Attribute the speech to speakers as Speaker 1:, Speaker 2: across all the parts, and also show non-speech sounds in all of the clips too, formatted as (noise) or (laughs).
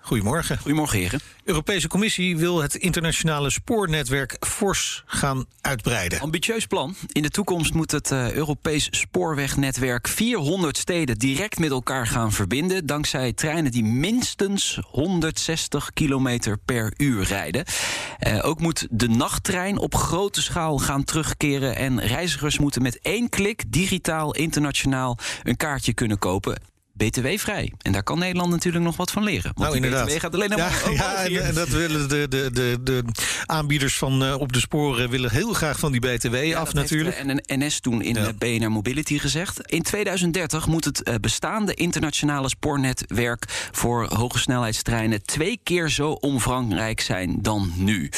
Speaker 1: Goedemorgen.
Speaker 2: Goedemorgen, heren.
Speaker 1: Europese Commissie wil het internationale spoornetwerk fors gaan uitbreiden.
Speaker 2: Ambitieus plan. In de toekomst moet het eh, Europees spoorwegnetwerk 400 steden direct met elkaar gaan verbinden. Dankzij treinen die minstens 160 kilometer per uur rijden. Eh, ook moet de nachttrein op grote schaal gaan terugkeren. En reizigers moeten met één klik digitaal internationaal een kaartje kunnen kopen. BTW-vrij. En daar kan Nederland natuurlijk nog wat van leren. Want
Speaker 1: Nou,
Speaker 2: die
Speaker 1: inderdaad.
Speaker 2: BTW gaat alleen
Speaker 1: (laughs) ja,
Speaker 2: maar omhoog
Speaker 1: ja, en,
Speaker 2: hier.
Speaker 1: en dat willen de, de, de, de aanbieders van eh, op de sporen willen heel graag van die BTW
Speaker 2: Ja,
Speaker 1: af
Speaker 2: dat
Speaker 1: natuurlijk.
Speaker 2: Heeft eh, de NS toen in eh,
Speaker 1: Ja.
Speaker 2: de BNR Mobility gezegd. In 2030 moet het eh, bestaande internationale spoornetwerk voor hogesnelheidstreinen twee keer zo omvangrijk zijn dan nu.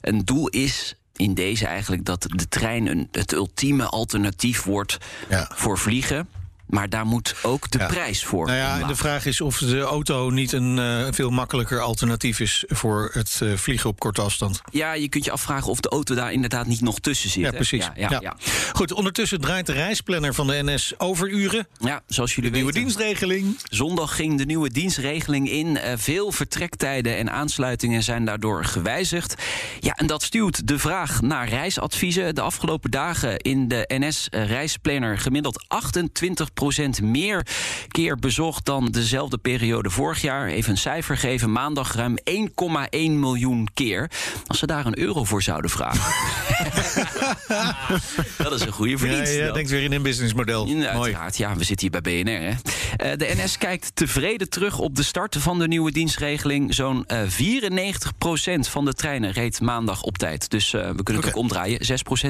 Speaker 2: Een doel is in deze eigenlijk dat de trein een, het ultieme alternatief wordt
Speaker 1: Ja.
Speaker 2: voor vliegen. Maar daar moet ook de
Speaker 1: Ja.
Speaker 2: prijs voor.
Speaker 1: Nou ja, en
Speaker 2: omlaag.
Speaker 1: de vraag is of de auto niet een eh, veel makkelijker alternatief is voor het eh, vliegen op korte afstand.
Speaker 2: ja, je kunt je afvragen of de auto daar inderdaad niet nog tussen zit.
Speaker 1: Ja,
Speaker 2: hè?
Speaker 1: precies.
Speaker 2: Ja, ja, ja.
Speaker 1: Goed, ondertussen draait de reisplanner van de NS overuren.
Speaker 2: Ja, zoals jullie
Speaker 1: Nieuwe
Speaker 2: weten.
Speaker 1: dienstregeling.
Speaker 2: Zondag ging de nieuwe dienstregeling in. Eh, veel vertrektijden en aansluitingen zijn daardoor gewijzigd. Ja, en dat stuwt de vraag naar reisadviezen. De afgelopen dagen in de NS-reisplanner gemiddeld 28% meer keer bezocht dan dezelfde periode vorig jaar. Even een cijfer geven: maandag ruim 1,1 miljoen keer. Als ze daar een euro voor zouden
Speaker 1: (laughs)
Speaker 2: vragen. dat is een goede
Speaker 1: Ja,
Speaker 2: verdienst.
Speaker 1: ja,
Speaker 2: dan.
Speaker 1: denkt weer in een businessmodel.
Speaker 2: Ja,
Speaker 1: Oh, Mooi.
Speaker 2: uiteraard. Ja, we zitten hier bij BNR. Hè. Eh, de NS kijkt tevreden terug op de start van de nieuwe dienstregeling. Zo'n eh 94% van de treinen reed maandag op tijd. Dus eh, we kunnen het
Speaker 1: Oké.
Speaker 2: ook omdraaien.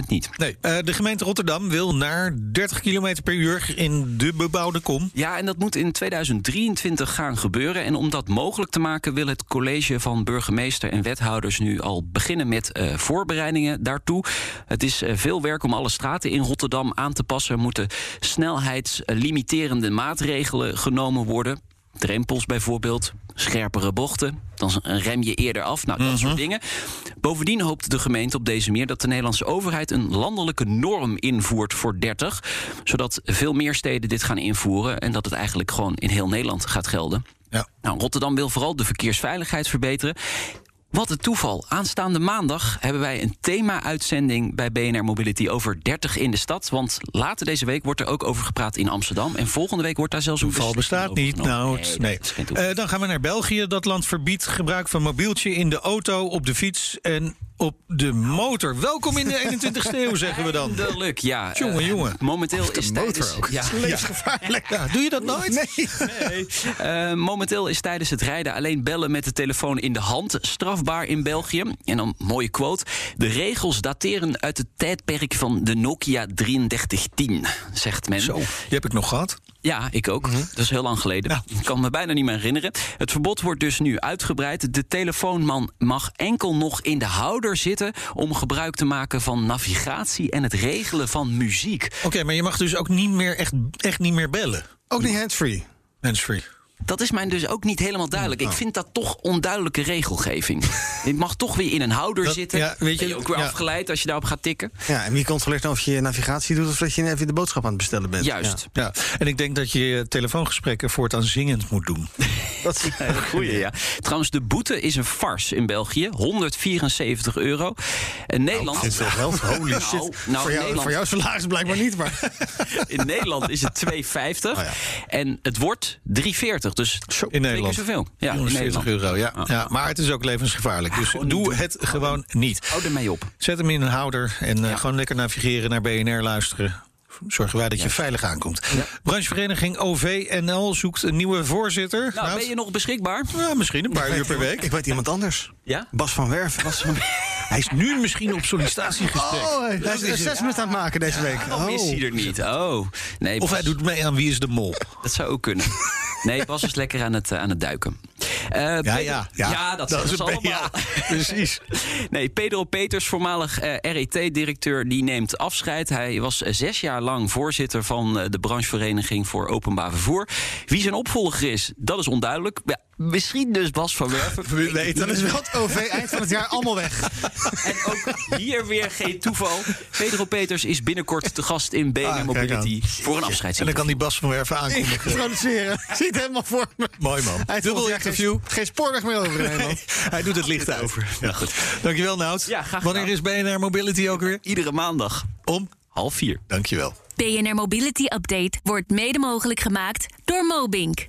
Speaker 2: 6% niet.
Speaker 1: Nee, eh, de gemeente Rotterdam wil naar 30 km per uur in de bebouwde kom.
Speaker 2: Ja, en dat moet in 2023 gaan gebeuren. En om dat mogelijk te maken wil het college van burgemeester en wethouders nu al beginnen met eh, voorbereidingen daartoe. Het is eh, veel werk om alle straten in Rotterdam aan te passen. Er moeten snelheidslimiterende maatregelen genomen worden. Drempels bijvoorbeeld, scherpere bochten, dan rem je eerder af. Nou, dat soort dingen. Bovendien hoopt de gemeente op deze manier dat de Nederlandse overheid een landelijke norm invoert voor 30. Zodat veel meer steden dit gaan invoeren en dat het eigenlijk gewoon in heel Nederland gaat gelden.
Speaker 1: Ja.
Speaker 2: Nou, Rotterdam wil vooral de verkeersveiligheid verbeteren. Wat een toeval. Aanstaande maandag hebben wij een thema-uitzending bij BNR Mobility over 30 in de stad. Want later deze week wordt er ook over gepraat in Amsterdam. En volgende week wordt daar zelfs een
Speaker 1: Val bestaat
Speaker 2: beslissing over
Speaker 1: niet. Nou,
Speaker 2: genomen. Nee,
Speaker 1: het-
Speaker 2: dat
Speaker 1: nee.
Speaker 2: is geen toeval.
Speaker 1: Eh, dan gaan we naar België. Dat land verbiedt gebruik van mobieltje in de auto, op de fiets en op de motor. Welkom in de 21ste eeuw, zeggen we
Speaker 2: (laughs)
Speaker 1: dan.
Speaker 2: Eindelijk, ja. Eh,
Speaker 1: Jongen, jongen.
Speaker 2: Momenteel is tijdens, Ja,
Speaker 1: Levensgevaarlijk. Ja. Doe je dat nooit? Nee.
Speaker 2: eh, momenteel is tijdens het rijden alleen bellen met de telefoon in de hand strafbaar in België. En dan mooie quote: de regels dateren uit het tijdperk van de Nokia 3310, zegt men.
Speaker 1: Zo, die heb ik nog gehad.
Speaker 2: Ja, ik ook. Dat is heel lang geleden. Ik kan me bijna niet meer herinneren. Het verbod wordt dus nu uitgebreid. De telefoonman mag enkel nog in de houder zitten om gebruik te maken van navigatie en het regelen van muziek.
Speaker 1: Oké, maar je mag dus ook niet meer echt, echt niet meer bellen.
Speaker 3: Ook niet handsfree.
Speaker 1: Handsfree.
Speaker 2: Dat is mij dus ook niet helemaal duidelijk. Ik vind dat toch onduidelijke regelgeving. je mag toch weer in een houder
Speaker 1: Dat-
Speaker 2: zitten.
Speaker 1: ja, weet je,
Speaker 2: ben je ook weer
Speaker 1: ja.
Speaker 2: afgeleid als je daarop gaat tikken.
Speaker 3: Ja, en wie controleert nou of je navigatie doet of dat je even de boodschap aan het bestellen bent?
Speaker 2: Juist.
Speaker 1: Ja, en ik denk dat je je telefoongesprekken voortaan zingend moet
Speaker 2: (laughs)
Speaker 1: doen.
Speaker 2: Dat is een goeie, ja. Trouwens, de boete is een farce in België. 174 euro. En Nederland...
Speaker 3: Dit is veel
Speaker 2: (laughs)
Speaker 3: geld. Holy
Speaker 2: Nou,
Speaker 3: shit.
Speaker 2: nou,
Speaker 3: voor, jou,
Speaker 1: (laughs)
Speaker 2: Nederland-
Speaker 3: voor jouw salaris blijkbaar
Speaker 2: (laughs)
Speaker 3: niet, maar...
Speaker 2: In Nederland is het 2,50.
Speaker 3: ja.
Speaker 2: En het wordt 3,40. Dus
Speaker 1: In
Speaker 2: twee keer
Speaker 1: Nederland.
Speaker 2: zoveel. Ja, in
Speaker 1: 140
Speaker 2: Nederland.
Speaker 1: euro, ja. ja. Maar het is ook levensgevaarlijk. Dus doe het gewoon niet.
Speaker 2: Hou ermee op. Nou,
Speaker 1: Zet hem in een houder en eh, gewoon lekker navigeren naar BNR luisteren. Zorgen wij dat je veilig aankomt. Branchevereniging OVNL zoekt een nieuwe voorzitter.
Speaker 2: Nou,
Speaker 1: Nout?
Speaker 2: ben je nog beschikbaar?
Speaker 1: Ja, misschien een paar uur per week.
Speaker 3: Ik weet iemand anders.
Speaker 2: Ja?
Speaker 3: Bas van Werf.
Speaker 1: Hij is nu misschien op sollicitatiegesprek.
Speaker 3: Oh, hij is een assessment aan het maken deze week.
Speaker 2: Dan is hij Oh, er niet. Oh. Nee,
Speaker 1: Of hij
Speaker 2: Bas,
Speaker 1: doet mee aan Wie is de Mol.
Speaker 2: Dat zou ook kunnen. Nee, Bas is lekker aan het, eh, aan het duiken. Eh,
Speaker 1: Ja,
Speaker 2: Peter-
Speaker 1: ja, ja.
Speaker 2: dat, zeggen
Speaker 1: is
Speaker 2: ze
Speaker 1: het,
Speaker 2: allemaal.
Speaker 1: ja, precies.
Speaker 2: (laughs) Nee, Pedro Peters, voormalig eh, RET-directeur, die neemt afscheid. Hij was eh, zes jaar lang voorzitter van eh, de branchevereniging voor openbaar vervoer. Wie zijn opvolger is, dat is onduidelijk. Ja, misschien dus Bas van Werven.
Speaker 1: (laughs) We weten
Speaker 3: Dan
Speaker 1: het.
Speaker 3: is wel het OV eind van het jaar allemaal weg.
Speaker 2: En ook hier weer geen toeval. Pedro Peters is binnenkort te gast in BNR
Speaker 1: Ah, kijk
Speaker 2: Mobility voor een
Speaker 1: En dan
Speaker 2: afscheidsinterview.
Speaker 1: kan die Bas van Werven
Speaker 3: (laughs) Ik
Speaker 1: aankondigen.
Speaker 3: produceren. Ziet helemaal voor me.
Speaker 1: Mooi man.
Speaker 3: Eind van
Speaker 1: Dubbel
Speaker 3: het jaar geen-
Speaker 1: interview.
Speaker 3: Geen, spoorweg meer over (laughs) in Nederland.
Speaker 1: Hij doet het licht over. Ja, goed. Dankjewel, Nout.
Speaker 2: Ja, graag gedaan.
Speaker 1: Wanneer is BNR Mobility ook weer?
Speaker 2: Iedere maandag
Speaker 1: Om.
Speaker 2: half vier.
Speaker 1: Dankjewel.
Speaker 4: BNR Mobility Update wordt mede mogelijk gemaakt door Mobink,